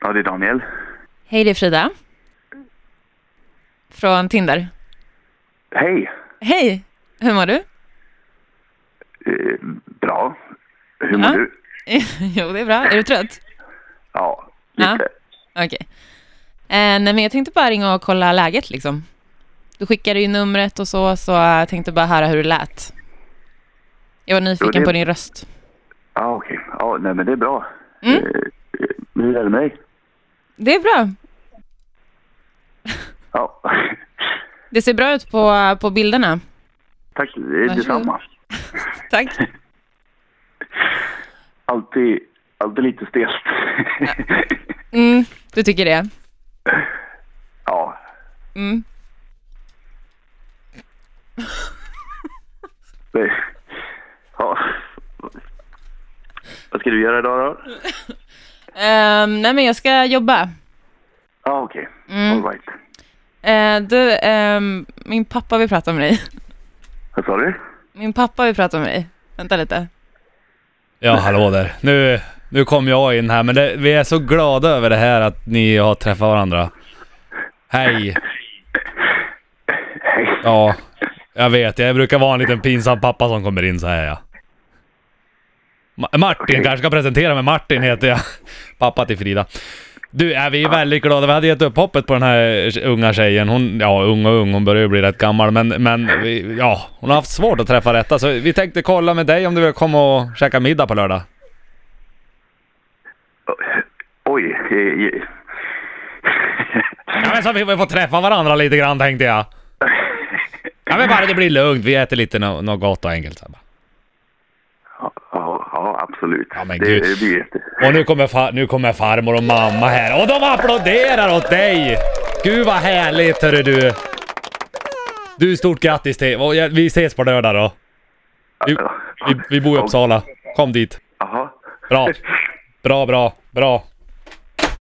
Ja, det är Daniel. Hej, det är Frida. Från Tinder. Hej! Hej! Hur mår du? Eh, bra. Hur mår Ja. du? jo, det är bra. Är du trött? Ja, Ja. lite. Okej. Eh, nej, men jag tänkte bara ringa och kolla läget liksom. Du skickade ju numret och så, så jag tänkte bara höra hur det lät. Jag var nyfiken Jo, det- på din röst. Ja, okej. Ja, nej men det är bra. Mm. Eh, eh, hur är det med dig? Det är bra. Ja. Det ser bra ut på, på bilderna. Tack, det är detsamma. Tack. Alltid, alltid lite stelt. Mm, du tycker det? ja. Mm. Det, ja. Vad ska du göra idag då? Ehm, nej, men jag ska jobba. Ja, okej. Mm. All right. Eh, du, ehm, min pappa vill prata med dig. Vad sa du? Min pappa vill prata med dig. Vänta lite. Ja, hallå där. Nu, nu kom jag in här, men det, vi är så glada över det här att ni har träffat varandra. Hej! Hej. Ja, jag vet. Jag brukar vara en liten pinsam pappa som kommer in så här, ja. Ma- Martin kanske ska presentera mig. Martin heter jag. Pappa till Frida. Du, är vi är väldigt glada. Vi hade gett upp hoppet på den här unga tjejen. Hon, ja, ung och ung, hon börjar ju bli rätt gammal. Men, men vi, ja, hon har haft svårt att träffa rätta. Så vi tänkte kolla med dig om du vill komma och käka middag på lördag. Oj. eh, eh. Ja, men så vi vi får träffa varandra lite grann tänkte jag. Ja men bara det blir lugnt, vi äter lite nå- något gott och enkelt. så här bara. Ja, ja, ja, absolut. Ja, men det, gud. det blir jätte... Och nu kommer, fa- nu kommer farmor och mamma här och de applåderar åt dig! Gud vad härligt hörru du! Du, stort grattis till... och jag- Vi ses på lördag då. Vi, vi, vi bor i Uppsala. Kom dit. Jaha. Bra. Bra, bra, bra.